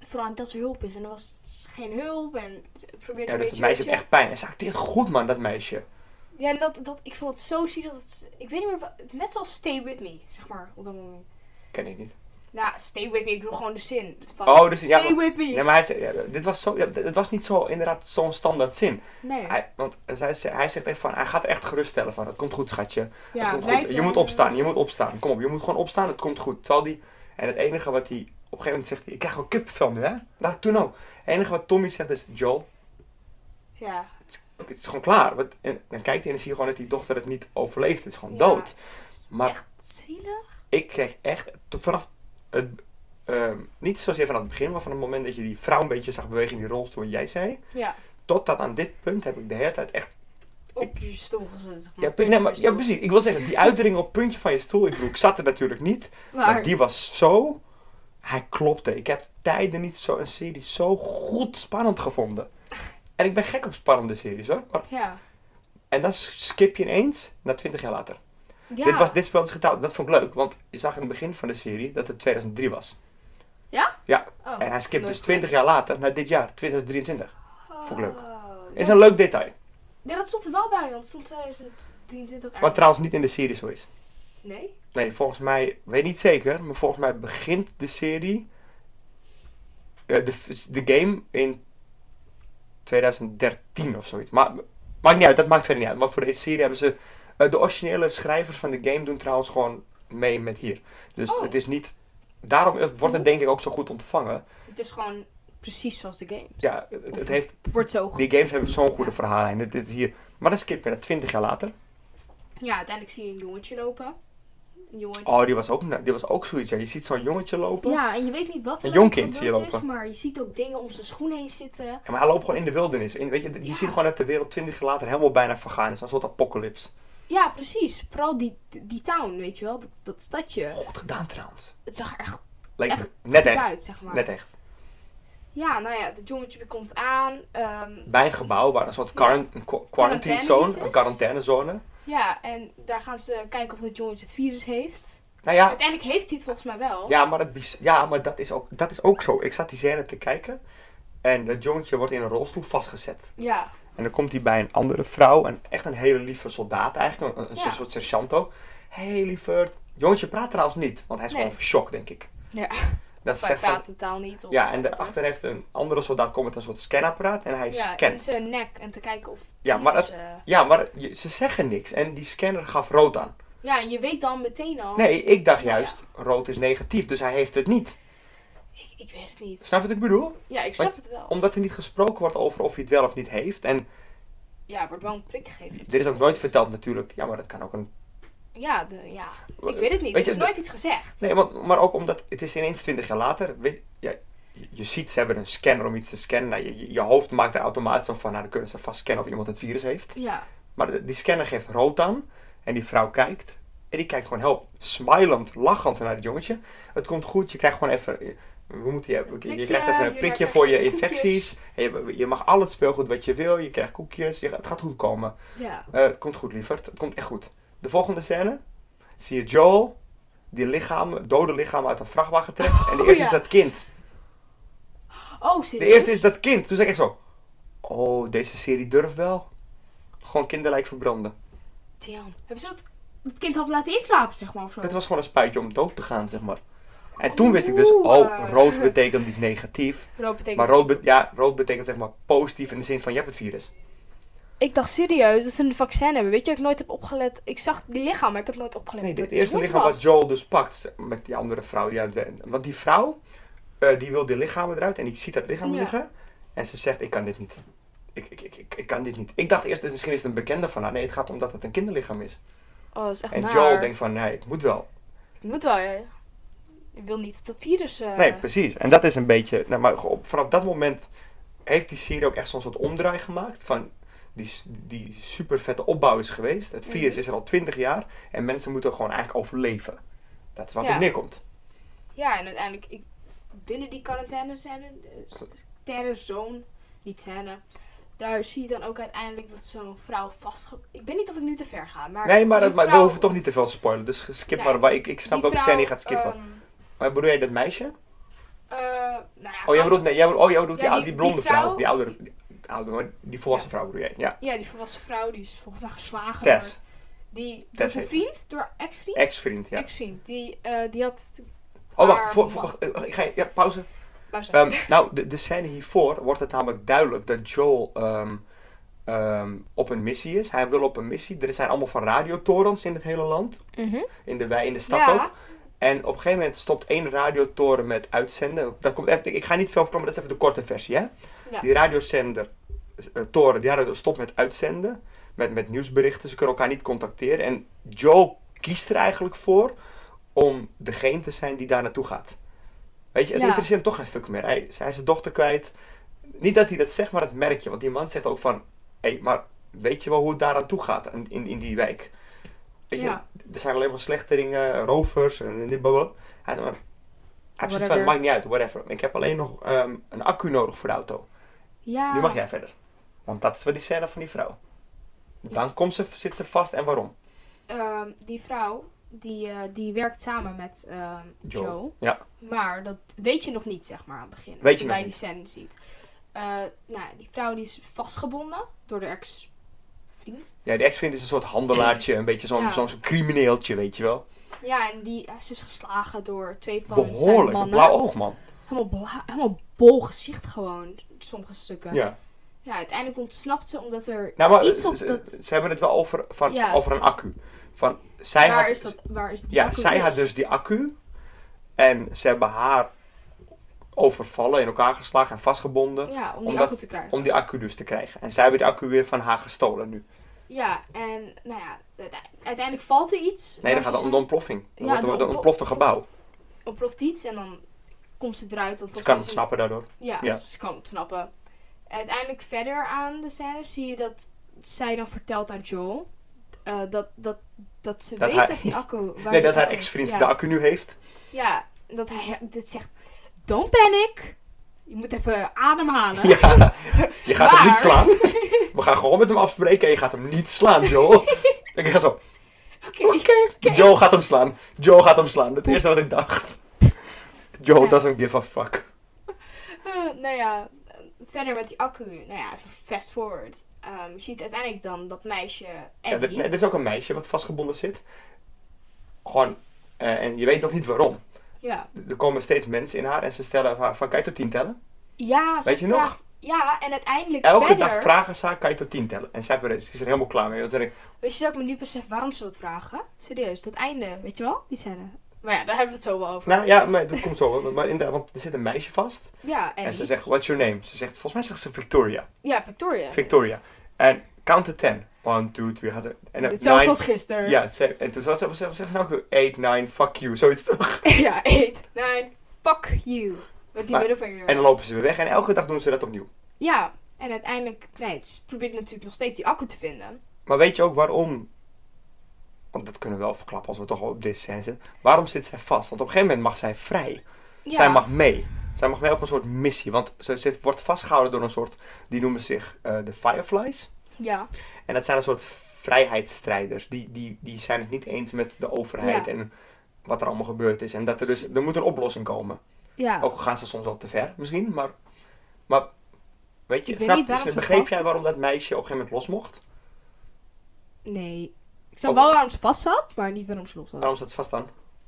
B: Vooral niet dat er hulp is. En er was geen hulp. En ze probeert
A: Ja,
B: een
A: dus dat meisje
B: beetje... weet
A: heeft
B: je-
A: echt pijn. En ze acteert goed, man, dat meisje.
B: Ja, en dat, dat, ik vond het zo ziek dat het... Ik weet niet meer... wa- Net zoals Stay With Me, zeg maar, op dat moment.
A: Ken ik niet.
B: Nou, Stay With Me, ik bedoel gewoon de zin. Van,
A: Oh, dus- ja,
B: Stay With Me.
A: Nee, maar hij zei, ja, dit was zo, ja, d- het was niet zo, inderdaad, zo'n standaard zin.
B: nee.
A: Hij, want zij, ze- hij zegt echt van, hij gaat echt geruststellen van, het komt goed, schatje. Het
B: ja,
A: komt
B: blijf
A: goed. Je
B: maar-
A: moet opstaan, je moet opstaan. Kom op, je moet gewoon opstaan, het komt goed. Terwijl die, en het enige wat hij op een gegeven moment zegt, hij, ik krijg gewoon kippenvel nu, hè? Nou, toen ook. Het enige wat Tommy zegt is, Joel,
B: Ja.
A: het is gewoon klaar. Want, en, dan kijkt hij en dan zie je gewoon dat die dochter het niet overleeft. Het is gewoon
B: Ja.
A: dood.
B: Maar...
A: Maar-
B: Het is echt zielig.
A: Ik kreeg echt, to- vanaf het, ehm, niet zozeer vanaf het begin, maar van het moment dat je die vrouw een beetje zag bewegen in die rolstoel en jij zei,
B: Ja. tot
A: tot dat aan dit punt heb ik de hele tijd echt
B: Op je stoel gezet. zeg
A: Ja,
B: puntje
A: nee, maar,
B: bij
A: ja,
B: stoel.
A: precies. Ik wil zeggen, die uitdringing op het puntje van je stoel, ik bedoel, ik zat er natuurlijk niet. Maar,
B: Maar-
A: die was zo... Hij klopte. Ik heb tijden niet zo een serie zo goed spannend gevonden. En ik ben gek op spannende series hoor. Maar-
B: Ja.
A: En dan s- skip je ineens naar 20 jaar later.
B: ja.
A: Dit, was, dit spel is getrouwd. Dat vond ik leuk, want je zag in het begin van de serie dat het 2003 was.
B: Ja?
A: Ja.
B: Oh,
A: en hij skipt
B: nooit
A: dus 20 jaar later naar dit jaar, 2023.
B: Oh,
A: vond ik leuk.
B: dat-
A: Is een leuk detail.
B: Ja, dat stond er wel bij, want het stond 2023 ergens.
A: Wat trouwens niet in de serie zo is.
B: Nee?
A: Nee, volgens mij, weet niet zeker, maar volgens mij begint de serie, eh, de, f- de game in 2013 of zoiets. Maar maakt niet uit, dat maakt verder niet uit. Maar voor deze serie hebben ze, eh, de originele schrijvers van de game doen trouwens gewoon mee met hier. Dus
B: Oh.
A: het is niet, daarom eh, wordt het denk ik ook zo goed ontvangen.
B: Het is gewoon precies zoals de game.
A: Ja, het, het heeft,
B: Wordt zo goed.
A: die games hebben zo'n goede verhaallijn. Dit dit is hier, maar dan skip je naar 20 jaar later.
B: Ja, uiteindelijk zie je een jongetje lopen. Een jongetje.
A: Oh, die was ook, die was ook zoiets. hè. Je ziet zo'n jongetje lopen.
B: Ja, en je weet niet wat er
A: Een
B: met
A: jong
B: hem
A: kind zie je
B: gebeurd is,
A: lopen.
B: maar je ziet ook dingen om zijn schoen heen zitten.
A: Ja, maar hij loopt gewoon in de wildernis. In, weet je, je
B: Ja.
A: ziet gewoon dat de wereld 20 jaar later helemaal bijna vergaan is. Een soort apocalypse.
B: Ja, precies. Vooral die, die town, weet je wel. Dat, dat stadje.
A: Goed gedaan trouwens.
B: Het zag er echt
A: Leek
B: Echt
A: me net
B: goed
A: echt.
B: uit, zeg maar.
A: Net echt.
B: Ja, nou ja, het jongetje komt aan. ehm,
A: Bij een gebouw waar een soort quaran- een qua- quarantine
B: Quarantaine
A: zone,
B: iets
A: een
B: is.
A: quarantainezone.
B: ja, en daar gaan ze kijken of dat jongetje het virus heeft.
A: Nou ja,
B: Uiteindelijk heeft hij het volgens mij wel.
A: ja maar, het, bis- ja, maar dat, is ook, dat is ook zo. Ik zat die scène te kijken en dat jongetje wordt in een rolstoel vastgezet.
B: Ja,
A: En dan komt hij bij een andere vrouw, en echt een hele lieve soldaat eigenlijk, een, een
B: Ja.
A: soort sergeant ook. Hé hey, lieverd. Jongetje praat trouwens niet, want hij is
B: Nee.
A: gewoon shock, denk ik.
B: ja.
A: Dat ze
B: Hij
A: zegt van,
B: praat de taal niet. Of
A: Ja, en daarachter heeft een andere soldaat komt met een soort scanapparaat en hij
B: Ja, in
A: scant.
B: zijn nek en te kijken of. het
A: Ja, maar
B: virus,
A: dat-
B: eh,
A: Ja, maar je- ze zeggen niks en die scanner gaf rood aan.
B: Ja, en je weet dan meteen al.
A: Nee, ik dacht
B: Oh. Ja,
A: juist, rood is negatief, dus hij heeft het niet.
B: Ik, ik weet het niet.
A: Snap je wat ik bedoel?
B: Ja, ik snap
A: Want-
B: het wel.
A: Omdat er niet gesproken wordt over of hij het wel of niet heeft. En
B: Ja, er wordt wel een prik gegeven.
A: er is ook nooit verteld natuurlijk, ja, maar dat kan ook een...
B: Ja, de, ja. ik weet het niet.
A: Weet
B: er
A: je,
B: is nooit iets gezegd.
A: Nee, want, maar ook omdat het is ineens 20 jaar later. Weet, ja, je, je ziet, ze hebben een scanner om iets te scannen. Nou, je, je, je hoofd maakt er automatisch van, nou, dan kunnen ze vast scannen of iemand het virus heeft.
B: Ja,
A: Maar de- die scanner geeft rood aan. En die vrouw kijkt. En die kijkt gewoon heel smilend, lachend naar het jongetje. Het komt goed, je krijgt gewoon even... We moeten je, je,
B: prikje,
A: krijgt even een
B: je
A: prikje
B: krijgt
A: voor je
B: koekjes.
A: infecties. En je, je mag al het speelgoed wat je wil. Je krijgt koekjes. je- het gaat goed komen.
B: ja.
A: Eh, het komt goed, lieverd. Het komt echt goed. De volgende scène. Zie je Joel. Die lichaam, dode lichaam uit een vrachtwagen trekt. en de
B: Oh,
A: eerste
B: ja.
A: is dat kind.
B: Oh,
A: De
B: serieus?
A: eerste is dat kind. Toen zei ik echt zo... Oh, deze serie durft wel. Gewoon kinderlijk verbranden.
B: Damn. Hebben ze dat het kind had laten inslapen, zeg maar? Of zo?
A: Dat was gewoon een spuitje om dood te gaan, zeg maar. En
B: Oh,
A: toen wist ik dus,
B: oeh. eh,
A: oh, rood betekent niet negatief.
B: Rood betekent-
A: Maar rood, be- ja, rood betekent zeg maar positief in de zin van, je hebt het virus.
B: Ik dacht serieus dat ze een vaccin hebben. Weet je, wat ik nooit heb opgelet. Ik zag die lichaam, maar ik heb nooit opgelet.
A: Nee,
B: dat
A: het eerste
B: jong
A: lichaam wat Joel dus pakt ze- met die andere vrouw. Die aan het- want die vrouw, eh, die wil die lichamen eruit en ik zie dat lichaam
B: Ja.
A: liggen. En ze zegt, ik kan dit niet. Ik, ik, ik, ik, ik kan dit niet. Ik dacht eerst, misschien is het een bekende van haar. Nee, het gaat om dat het een kinderlichaam is.
B: Oh, dat is echt
A: En
B: naar.
A: Joel denkt van, nee, ik moet wel.
B: Ik moet wel, ja. Ik wil niet dat virus... eh,
A: Nee, precies. En dat is een beetje. Nou, maar op, vanaf dat moment heeft die serie ook echt zo'n soort omdraai gemaakt. Van die, s- die super vette opbouw is geweest. Het virus
B: Mhm.
A: is er al twintig jaar. En mensen moeten gewoon eigenlijk overleven. Dat is wat
B: Ja.
A: er neerkomt.
B: Ja, en uiteindelijk ik, binnen die quarantaine scène, eh, quarantaine zone, niet scène, daar zie je dan ook uiteindelijk dat zo'n vrouw vastge... Ik weet niet of ik nu te ver ga, maar...
A: Nee, maar,
B: die
A: dat, maar we
B: vrouw-
A: hoeven toch niet te veel te spoilen. Dus skip
B: Nee.
A: maar. waar- Ik, ik
B: die
A: snap welke
B: vrouw,
A: scène je gaat skippen.
B: ehm,
A: maar bedoel jij dat meisje?
B: eh, nou ja,
A: Oh, jij bedoelt, nee, jij bedoelt, oh, jij bedoelt
B: Ja,
A: die,
B: die-
A: die blonde
B: die
A: vrouw.
B: vrouw-
A: Die oudere, die, oudere, maar die volwassen vrouw bedoel jij. Ja,
B: Ja, die volwassen vrouw, die is volgens mij geslagen.
A: Tess.
B: door- Die, door
A: Tess
B: zijn
A: heet
B: vriend, door haar ex-vriend?
A: Ex-vriend, ja.
B: Ex-vriend, die, eh, die had...
A: Oh, wacht.
B: haar
A: Voor, voor,
B: man-
A: wacht, eh, ik ga, ja, pauze.
B: Waar zijn-
A: Ehm, nou, de, de scène hiervoor wordt het namelijk duidelijk dat Joel ehm, ehm, op een missie is. Hij wil op een missie. Er zijn allemaal van radiotorens in het hele land.
B: Mhm.
A: In de, wei- in de stad
B: Ja.
A: Ehm, ook. En op een gegeven moment stopt één radiotoren met uitzenden. Dat komt even, ik ga niet veel verklappen, dat is even de korte versie. Hè?
B: Ja.
A: Die radiozender, eh, toren, die radio stopt met uitzenden. Met, met nieuwsberichten, ze kunnen elkaar niet contacteren. En Joel kiest er eigenlijk voor om degene te zijn die daar naartoe gaat. Weet je, het
B: Ja.
A: interesseert hem toch geen fuck meer. Hij, hij is zijn dochter kwijt. Niet dat hij dat zegt, maar dat merk je. Want die man zegt ook van... Hé, maar weet je wel hoe het daar aan toe gaat in, in, in die wijk? Weet je,
B: Ja.
A: er zijn alleen maar slechteringen, rovers en dit blablabla. Hij zegt maar... Hij heeft zoiets van,
B: Whatever.
A: het maakt niet uit, whatever. Ik heb alleen nog ehm, een accu nodig voor de auto.
B: Ja.
A: Nu mag jij verder. Want dat is wat die scène van die vrouw. Dan komt ze, zit ze vast en waarom?
B: Ehm, die vrouw, die, eh, die werkt samen met ehm,
A: Joel.
B: Joe.
A: Ja.
B: Maar dat weet je nog niet, zeg maar, aan het begin.
A: Weet
B: als
A: je nog
B: bij die
A: niet.
B: scène ziet. Eh, nou, ja, die vrouw die is vastgebonden door de ex-vriend.
A: Ja, die ex-vriend is een soort handelaartje, een beetje zo'n
B: Ja.
A: zo'n crimineeltje, weet je wel.
B: Ja, en die ze is geslagen door twee van zijn
A: Behoorlijk, een
B: mannen.
A: blauw oog, man.
B: Helemaal, bla- helemaal bol gezicht gewoon, sommige stukken.
A: Ja.
B: Ja, uiteindelijk ontsnapt ze omdat er
A: Nou, maar
B: iets
A: ze-
B: op
A: ze,
B: dat...
A: ze hebben het wel over, van,
B: Ja,
A: over een accu. Van, zij
B: waar
A: had,
B: is dat? Waar is die
A: Ja,
B: accu
A: zij
B: dus?
A: had dus die accu. En ze hebben haar overvallen, in elkaar geslagen en vastgebonden.
B: Ja, om die
A: dus- omdat-
B: accu te krijgen.
A: Om die accu dus te krijgen. En zij hebben die accu weer van haar gestolen nu.
B: Ja, en nou ja, uite- uiteindelijk valt er iets.
A: Nee,
B: waar
A: dan gaat het
B: ze
A: om de ontploffing. Dan
B: Ja,
A: wordt-
B: de
A: wordt- dan
B: ontplo-
A: ontploft een gebouw.
B: zijn- ontploft iets en dan komt ze eruit. Dat
A: Ze kan het snappen daardoor.
B: Ja,
A: Ja.
B: ze kan ontsnappen. Uiteindelijk verder aan de scène zie je dat zij dan vertelt aan Joel eh, dat, dat, dat ze
A: Dat
B: weet
A: hij-
B: dat die accu... waar
A: Nee,
B: die
A: dat haar
B: accu-
A: ex-vriend
B: ja,
A: de accu nu heeft.
B: Ja, dat hij dit zegt, don't panic. Je moet even ademhalen.
A: Ja, je gaat hem
B: Maar-
A: niet slaan. We gaan gewoon met hem afspreken en je gaat hem niet slaan, Joel. Ik ga zo.
B: Oké.
A: Joe gaat hem slaan. Joe gaat hem slaan. Dat is eerste wat ik dacht. Joe doesn't give a fuck.
B: Eh, nou ja, eh, verder met die accu. Nou ja, even fast forward. Ehm, je ziet uiteindelijk dan dat meisje
A: Ja,
B: Abby.
A: er, nee, er is ook een meisje wat vastgebonden zit. Gewoon, eh, en je weet nog niet waarom.
B: ja.
A: Er er komen steeds mensen in haar en ze stellen haar van kan je tot tien tellen?
B: ja ze
A: Weet je
B: vraagt-
A: nog?
B: Ja, en uiteindelijk
A: Elke
B: verder...
A: dag vragen ze haar kan je tot tien tellen? En zij heeft er- ze is er helemaal klaar mee. Dan zeg ik,
B: Weet je dat ik me nu besef waarom ze dat vragen? Serieus, dat einde, weet je wel? Die scène. Maar ja, daar hebben we het zo wel over.
A: nou ja, maar dat komt zo. hoor. Maar inderdaad, want er zit een meisje vast.
B: ja, en,
A: En ze zegt, what's your name? Ze zegt, volgens mij zegt ze Victoria.
B: Ja, Victoria.
A: Victoria. En count to ten. One, two, three. Had ze- en dan
B: Hetzelfde
A: nine-
B: als gisteren.
A: Ja, ze- en toen zat ze, wat zegt ze nou ook weer? Eight, nine, fuck you. Zoiets toch?
B: ja, 8, 9, fuck you. Met die
A: Maar-
B: middelvinger.
A: En dan lopen ze weer weg. En elke dag doen ze dat opnieuw.
B: Ja, en uiteindelijk, nee, ze probeert natuurlijk nog steeds die accu te vinden.
A: Maar weet je ook waarom? Want dat kunnen we wel verklappen als we toch al op dit scène zitten. Waarom zit zij vast? Want op een gegeven moment mag zij vrij.
B: Ja,
A: Zij mag mee. Zij mag mee op een soort missie. Want ze zit, wordt vastgehouden door een soort, die noemen zich eh, de Fireflies.
B: Ja,
A: En dat zijn een soort vrijheidsstrijders. Die, die, die zijn het niet eens met de overheid
B: Ja.
A: en wat er allemaal gebeurd is. En dat er dus, er moet een oplossing komen.
B: ja.
A: Ook al gaan ze soms wel te ver misschien, maar, maar weet je,
B: Ik weet
A: snap,
B: niet waarom ze
A: begreep
B: vast-
A: jij waarom dat meisje op een gegeven moment los mocht?
B: Nee. Ik snap
A: Oh.
B: wel waarom ze vast zat, maar niet waarom ze los zat.
A: Waarom zat ze vast aan?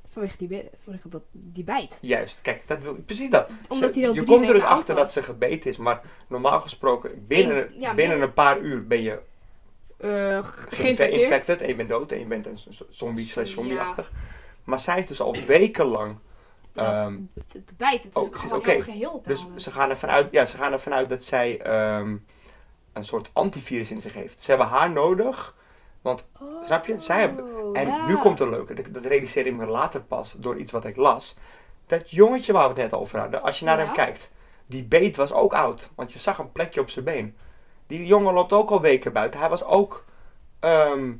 B: Vanwege die, bi- vanwege dat, die bijt.
A: Juist, kijk, dat wil, precies dat.
B: Omdat
A: Ze-
B: hij al
A: je
B: drie
A: komt er dus
B: weken oud
A: achter
B: was.
A: dat ze gebeten is, maar normaal gesproken binnen,
B: Eén- ja,
A: binnen
B: binnen-
A: een paar uur ben je
B: Eh, geïnfecteerd.
A: geïnfected en je bent dood en je bent een zo- zombie slash
B: Ja.
A: zombieachtig. Maar zij heeft dus al wekenlang...
B: Dat,
A: ehm,
B: het bijt, het is
A: oh,
B: ook
A: het is
B: gewoon
A: oké.
B: heel geheel te
A: dus
B: houden.
A: ze gaan, ervan uit, ja, ze gaan ervan uit dat zij ehm, een soort antivirus in zich heeft. Ze hebben haar nodig Snap je? Zij hebben-
B: Oh,
A: En nu komt het leuke, dat- dat realiseer ik me later pas door iets wat ik las. Dat jongetje waar we het net over hadden, als je naar
B: Ja.
A: hem kijkt, Die beet was ook oud, want je zag een plekje op zijn been. Die jongen loopt ook al weken buiten. Hij was ook, ehm,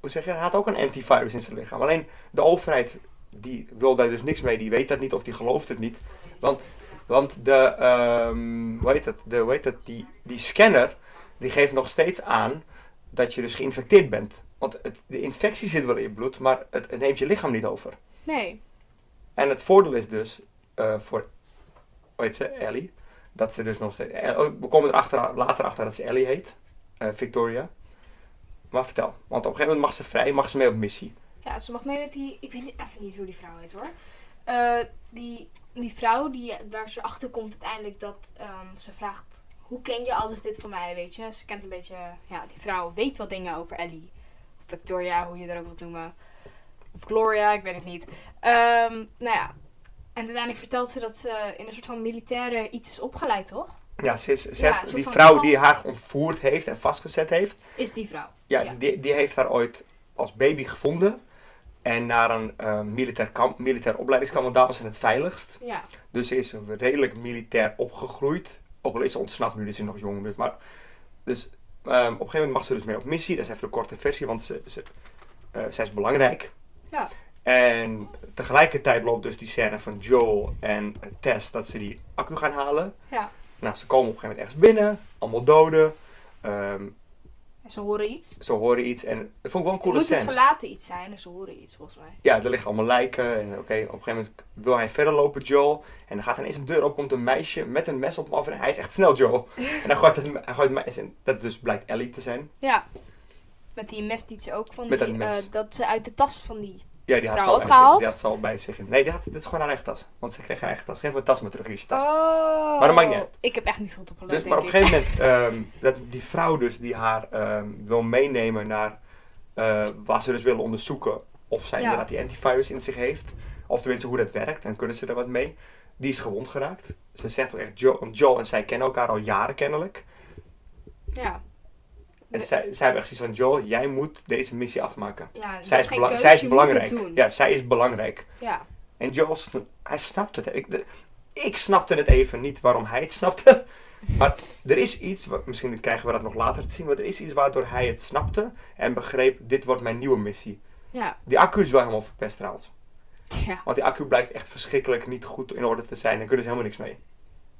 A: hoe zeg je, hij had ook een antivirus in zijn lichaam. Alleen de overheid, die wil daar dus niks mee. Die weet dat niet of die gelooft het niet. Want, want de, ehm hoe heet het, de, hoe heet het, die, die scanner, die geeft nog steeds aan dat je dus geïnfecteerd bent. Want het, de infectie zit wel in je bloed, maar het, het neemt je lichaam niet over.
B: Nee.
A: En het voordeel is dus eh, voor, hoe heet ze, Ellie, dat ze dus nog steeds, eh, oh, we komen er achter, later achter dat ze Ellie heet, eh, Victoria. Maar vertel, want op een gegeven moment mag ze vrij, mag ze mee op missie.
B: Ja, ze mag mee met die. Ik weet niet- even niet hoe die vrouw heet hoor. Eh, die, die vrouw die, waar ze achter komt uiteindelijk dat ehm, ze vraagt: Hoe ken je alles dit van mij? Weet je, ze kent een beetje. Ja, die vrouw weet wat dingen over Ellie. Of Victoria, hoe je dat ook wilt noemen. Of Gloria, ik weet het niet. Ehm, nou ja. En uiteindelijk vertelt ze dat ze in een soort van militaire iets is opgeleid, toch?
A: Ja, ze is- ze
B: Ja,
A: heeft-
B: een soort
A: die
B: van
A: vrouw
B: plan.
A: die haar ontvoerd heeft en vastgezet heeft,
B: Is die vrouw.
A: Ja,
B: Ja.
A: Die, die heeft haar ooit als baby gevonden. En naar een eh, militair, kamp, militair opleidingskamp, want daar was ze het veiligst.
B: Ja.
A: Dus ze is redelijk militair opgegroeid. Ook al is ze ontsnapt nu, dus ze is nog jong. Dus, maar, dus ehm, op een gegeven moment mag ze dus mee op missie. Dat is even de korte versie, want ze, ze, eh, zij is belangrijk.
B: Ja.
A: En tegelijkertijd loopt dus die scène van Joel en Tess dat ze die accu gaan halen.
B: Ja.
A: Nou, ze komen op een gegeven moment ergens binnen, allemaal doden. Ehm,
B: En ze horen iets.
A: ze horen iets en dat vond ik wel een
B: Het
A: coole
B: moet het
A: scène.
B: verlaten iets zijn en ze horen iets volgens mij.
A: ja, er liggen allemaal lijken. En oké, op een gegeven moment wil hij verder lopen, Joel. En dan gaat ineens een deur op, komt een meisje met een mes op hem af. En hij is echt snel, Joel. En dan gooit het, hij gooit het mes in. Dat dus blijkt Ellie te zijn.
B: Ja. Met die mes die ze ook van
A: Met
B: die,
A: dat mes.
B: eh, dat ze uit de tas van die.
A: Ja, die had, ze
B: Vrouw
A: al, bij zich,
B: opgehaald?
A: die had ze al bij zich. in. Nee, die had, dit is gewoon haar eigen tas. Want ze kreeg haar eigen tas. Geef me een tas maar terug, hier is je tas.
B: Oh.
A: Maar dat maakt niet uit.
B: Ik heb echt niet goed opgelet.
A: Dus, maar op een
B: denk ik.
A: gegeven moment, ehm, dat die vrouw dus, die haar ehm, wil meenemen naar eh waar ze dus willen onderzoeken of zij
B: Ja.
A: inderdaad die antivirus in zich heeft. Of tenminste hoe dat werkt en kunnen ze er wat mee. Die is gewond geraakt. Ze zegt ook echt, Joe, want Joel en zij kennen elkaar al jaren kennelijk.
B: Ja.
A: En
B: Nee.
A: zij, zij hebben echt zoiets van, Joel, jij moet deze missie afmaken.
B: ja
A: Zij is, bela- zij is belangrijk. Ja, zij is belangrijk.
B: Ja.
A: En Joel, sn- hij snapt het. Ik, de- ik snapte het even niet waarom hij het snapte. Maar er is iets, wa- misschien krijgen we dat nog later te zien, maar er is iets waardoor hij het snapte en begreep, dit wordt mijn nieuwe missie.
B: Ja.
A: Die accu is wel helemaal verpest trouwens.
B: Ja.
A: Want die accu blijkt echt verschrikkelijk niet goed in orde te zijn en kunnen ze helemaal niks mee.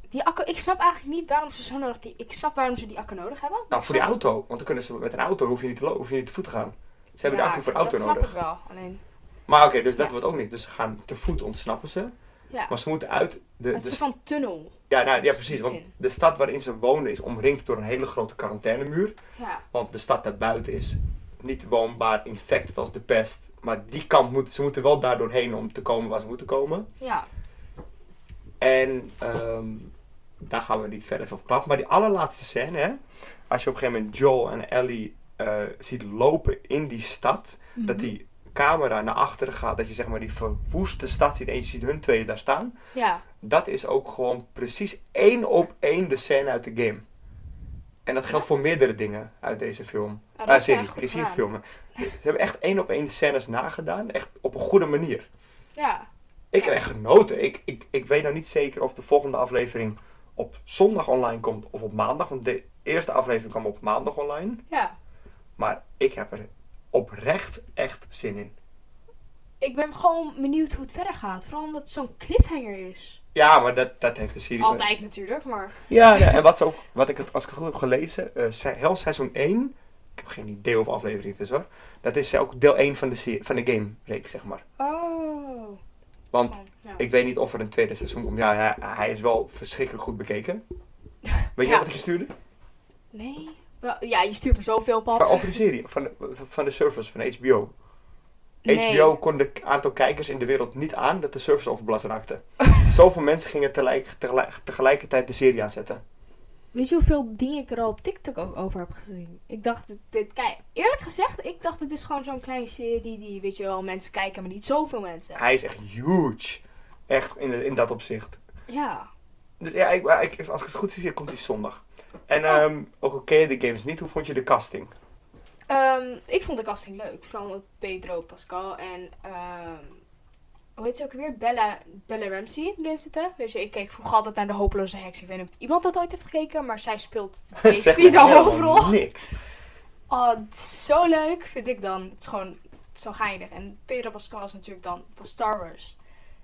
B: Die accu, ik snap eigenlijk niet waarom ze zo nodig die. Ik snap waarom ze die accu nodig hebben.
A: Nou, voor die auto, want dan kunnen ze met een auto, hoef je niet te, lo- hoef je niet te voet te gaan. Ze hebben de accu voor de auto
B: dat
A: nodig.
B: snap ik wel. Alleen.
A: Maar oké, dus dat
B: Ja.
A: wordt ook niet. Dus ze gaan te voet ontsnappen ze.
B: Ja.
A: Maar ze dus- moeten uit de,
B: het
A: de
B: is een soort van tunnel.
A: Ja, nou, ja,
B: Dus
A: precies.
B: iets
A: Want
B: in.
A: de stad waarin ze wonen is omringd door een hele grote quarantainemuur.
B: Ja.
A: Want de stad daarbuiten is niet woonbaar, infected als de pest. Maar die kant moet, ze moeten wel daar doorheen om te komen waar ze moeten komen.
B: Ja.
A: En ehm, daar gaan we niet verder van verklappen. Maar die allerlaatste scène, hè, als je op een gegeven moment Joel en Ellie eh, ziet lopen in die stad.
B: Mhm.
A: Dat die camera naar achteren gaat, dat je zeg maar die verwoeste stad ziet en je ziet hun tweeën daar staan.
B: Ja.
A: dat is ook gewoon precies één op één de scène uit de game. En dat geldt voor meerdere dingen uit deze film.
B: Ah,
A: Ah,
B: dat is wel
A: serie,
B: echt goed
A: is hier
B: gedaan.
A: filmen. Ze hebben echt één op één de scènes nagedaan. Echt op een goede manier.
B: Ja.
A: Ik heb echt genoten. Ik, ik, ik weet nou niet zeker of de volgende aflevering op zondag online komt of op maandag. Want de eerste aflevering kwam op maandag online.
B: Ja.
A: Maar ik heb er oprecht echt zin in.
B: Ik ben gewoon benieuwd hoe het verder gaat. Vooral omdat het zo'n cliffhanger is.
A: Ja, maar dat, dat heeft de serie...
B: Altijd natuurlijk, maar.
A: Ja, ja, en wat, ze ook, wat ik het, als ik het goed heb gelezen, eh se- heel seizoen 1, ik heb geen idee of aflevering het is hoor, dat is eh, ook deel 1 van de, serie- van de game-reeks, zeg maar.
B: Oh.
A: Want
B: Ja.
A: ik weet niet of er een tweede seizoen komt. Ja, hij, hij is wel verschrikkelijk goed bekeken. Weet je
B: Ja.
A: wat ik je stuurde?
B: Nee. Wel, ja, je stuurt me zoveel, pap.
A: Van, over de serie, van de, van de service van HBO.
B: Nee.
A: HBO kon het aantal kijkers in de wereld niet aan dat de service overbelast raakte. Zoveel mensen gingen tegelijk, tegelijk- tegelijkertijd de serie aanzetten.
B: Weet je hoeveel dingen ik er al op TikTok ook over heb gezien? Ik dacht, dit, dit- kijk, eerlijk gezegd, ik dacht, dit is gewoon zo'n kleine serie die, weet je wel, mensen kijken, maar niet zoveel mensen.
A: Hij is echt huge. Echt in, in dat opzicht.
B: Ja.
A: Dus ja, ik, maar ik- als ik het goed zie, komt die zondag. En
B: Oh.
A: ehm, ook oké, de games niet. Hoe vond je de casting?
B: Ehm, ik vond de casting leuk, vooral met Pedro Pascal en ehm, hoe heet ze ook weer? Bella, Bella Ramsey erin zitten. Dus ik keek vroeger altijd naar de hopeloze heks. Ik weet niet of iemand dat ooit heeft gekeken, maar zij speelt basically dan
A: helemaal
B: overal.
A: niks.
B: Oh, het is zo leuk, vind ik dan. Het is gewoon het is zo geinig. En Pedro Pascal is natuurlijk dan van Star Wars.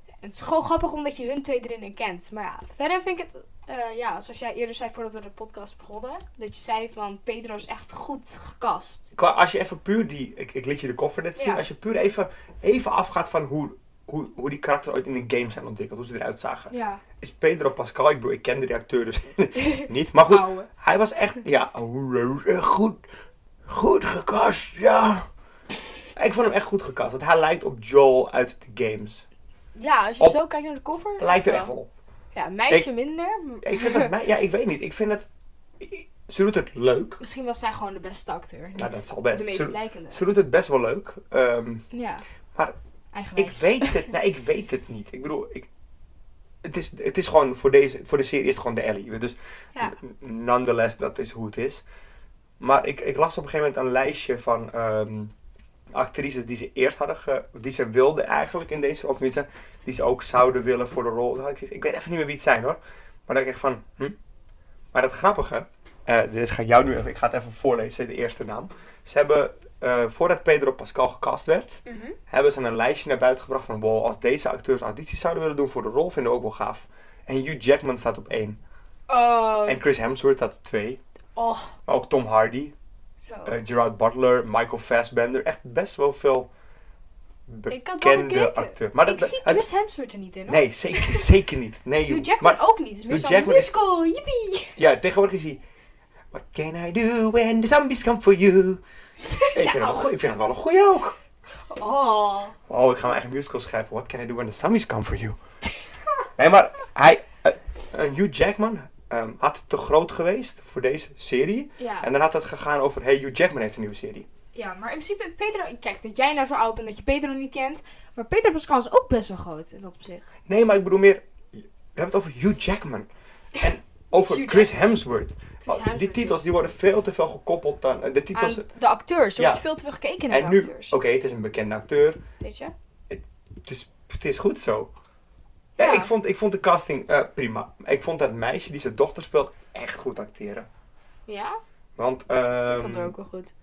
B: En het is gewoon grappig omdat je hun twee erin in kent. Maar ja, verder vind ik het... eh, ja, zoals jij eerder zei voordat we de podcast begonnen... dat je zei van Pedro is echt goed gekast.
A: Qua, als je even puur die, ik, ik liet je de koffer net zien,
B: Ja.
A: als je puur even, even afgaat van hoe, hoe, hoe die karakters ooit in de game zijn ontwikkeld, hoe ze eruit zagen.
B: Ja,
A: Is Pedro Pascal, ik bedoel, ik kende die acteur dus niet, maar goed,
B: ouwe.
A: hij was echt, ja, goed, goed gekast, ja. Ik vond hem echt goed gekast, want hij lijkt op Joel uit de games.
B: Ja, als je
A: Op-
B: zo kijkt naar de cover...
A: Lijkt er echt wel op.
B: Ja, meisje minder.
A: Ik vind dat, mij- ja, ik weet niet, ik vind het, ze doet het leuk.
B: Misschien was zij gewoon de beste acteur. Niet
A: Ja, dat zal best.
B: De meest
A: Zullen-
B: lijkende.
A: Ze doet het best wel leuk. Ehm,
B: Ja.
A: Maar ik
B: Eigenwijs.
A: weet het, nee, ik weet het niet. Ik bedoel, ik, het, is, het is gewoon voor, deze, voor de serie is het gewoon de Ellie. Dus
B: Ja.
A: n- nonetheless, dat is hoe het is. Maar ik, ik las op een gegeven moment een lijstje van ehm, actrices die ze eerst hadden, ge- die ze wilden eigenlijk in deze, of tenminste, die ze ook zouden willen voor de rol. Dan had ik, zoiets- ik weet even niet meer wie het zijn hoor. Maar dan denk ik van, hm. Maar het grappige, eh, dit ga ik jou nu even, ik ga het even voorlezen, de eerste naam. Ze hebben, eh, voordat Pedro Pascal gecast werd,
B: Mhm.
A: hebben ze een lijstje naar buiten gebracht van wow, als deze acteurs audities zouden willen doen voor de rol, vinden we ook wel gaaf. En Hugh Jackman staat op één.
B: Oh,
A: En Chris Hemsworth staat op twee.
B: oh,
A: Maar ook Tom Hardy,
B: zo.
A: eh, Gerard Butler, Michael Fassbender. Echt best wel veel
B: Ik had wel
A: bekende
B: gekeken.
A: acteurs. Maar
B: ik zie
A: het-
B: Chris Hemsworth er niet in, hoor.
A: Nee, zeker, zeker niet. Nee, joh.
B: Hugh Jackman
A: Maar-
B: ook niet. Het is meer
A: Hugh
B: zo'n
A: Jackman is-
B: musical, yippie!
A: Ja, tegenwoordig is hij... What can I do when the zombies come for you? ik, vind hem wel, goed- ik vind hem wel een goeie ook.
B: Oh.
A: Oh, ik ga mijn eigen musical schrijven. What can I do when the zombies come for you? nee, maar hij, eh, eh, Hugh Jackman ehm, had te groot geweest voor deze serie.
B: Ja.
A: En dan had het gegaan over, hey, Hugh Jackman heeft een nieuwe serie.
B: ja, maar in principe, Pedro... Kijk, dat jij nou zo oud bent dat je Pedro niet kent. Maar Pedro Pascal is ook best wel groot in dat opzicht.
A: Nee, maar ik bedoel meer, we hebben het over Hugh Jackman. En over
B: Hugh
A: Chris Hemsworth. Oh, die
B: Hemsworth,
A: titels die worden veel te veel gekoppeld aan eh, de titels.
B: Aan de acteurs. Er
A: Ja.
B: wordt veel te veel gekeken naar
A: en
B: de
A: nu,
B: acteurs.
A: oké, het is een bekende acteur.
B: Weet je?
A: Het is, het is goed zo. Ja,
B: Ja.
A: Ik, vond, ik vond de casting eh, prima. Ik vond dat meisje die zijn dochter speelt echt goed acteren.
B: Ja?
A: Want
B: ik vond het
A: ehm
B: ook wel goed.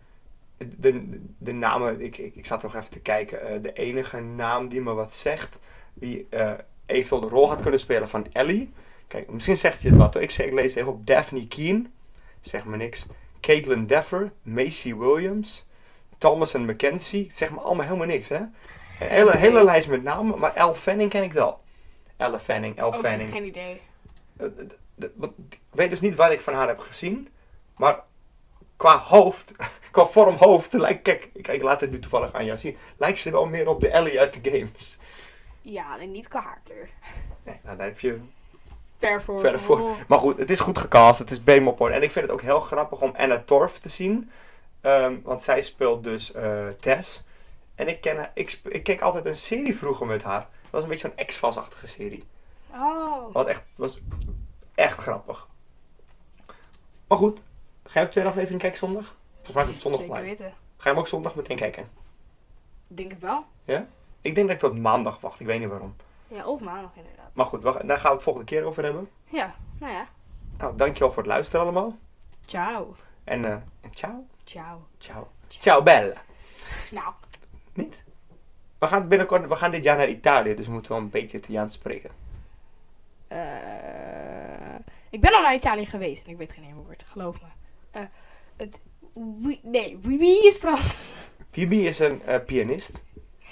A: de, de namen, ik, ik, ik zat nog even te kijken. eh, de enige naam die me wat zegt, die eh, eventueel de rol had kunnen spelen van Ellie. Kijk, misschien zegt je het wat hoor. Ik, zeg- ik lees even op Daphne Keen, zeg me niks. Caitlin Dever, Macy Williams, Thomas en McKenzie, zeg me allemaal helemaal niks hè. Een hele, hele lijst met namen, maar Elle Fanning ken ik wel. Elle Fanning, Elle
B: Ook
A: Fanning.
B: Oh, geen idee.
A: Eh, d- d- want Ik weet dus niet wat ik van haar heb gezien. Maar qua hoofd, qua vorm hoofd, lijkt, kijk, ik, ik laat het nu toevallig aan jou zien. Lijkt ze wel meer op de Ellie uit de games.
B: Ja, en niet qua haarkleur.
A: Nee, nou, daar heb je
B: Ver voor. Oh.
A: verder voor. Maar goed, het is goed gecast, het is bemop hoor. En ik vind het ook heel grappig om Anna Torf te zien. Ehm, want zij speelt dus eh, Tess. En ik, ken, haar- ik, sp- ik keek altijd een serie vroeger met haar. Dat was een beetje zo'n X-Files-achtige serie.
B: Oh.
A: Wat echt, was echt grappig. Maar goed, ga je ook tweede aflevering kijken zondag? Volgens mij is het zondag
B: Zeker
A: online.
B: weten.
A: Ga je hem ook zondag meteen kijken?
B: Ik Denk het wel.
A: Ik denk dat ik tot maandag wacht, ik weet niet waarom.
B: Ja, of maandag inderdaad.
A: Maar goed, wacht, daar gaan we het volgende keer over hebben.
B: Ja, nou ja.
A: Nou, dankjewel voor het luisteren allemaal.
B: Ciao.
A: En eh, ciao,
B: Ciao.
A: ciao, ciao bella.
B: Nou,
A: Niet? We gaan binnenkort, we gaan dit jaar naar Italië, dus we moeten wel een beetje Italiaans spreken.
B: eh, ik ben al naar Italië geweest en ik weet geen enkel woord, geloof me. Eh, het. Oui, nee, oui, oui is Frans.
A: Phoebe is een eh, pianist.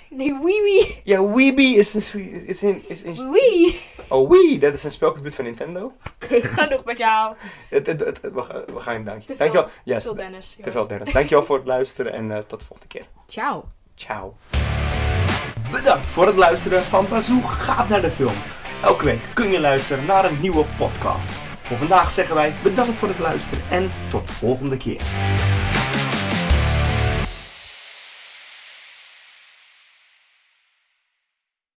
B: Nee, oui, oui.
A: Ja, Weeby is een... swe- Is een, is een
B: Oui.
A: oh, Wii, dat is een spelcomputer van Nintendo.
B: Oké, genoeg met jou.
A: Het, het, het- het- we, gaan- we gaan
B: Te
A: dankje.
B: veel-
A: Dankjewel.
B: Tot
A: Yes,
B: veel Dennis.
A: te
B: jongens.
A: veel Dennis. Dankjewel voor het luisteren en eh, tot de volgende keer.
B: Ciao.
A: Ciao. Bedankt voor het luisteren van Bazoo gaat naar de film. Elke week kun je luisteren naar een nieuwe podcast. Voor vandaag zeggen wij bedankt voor het luisteren en tot de volgende keer.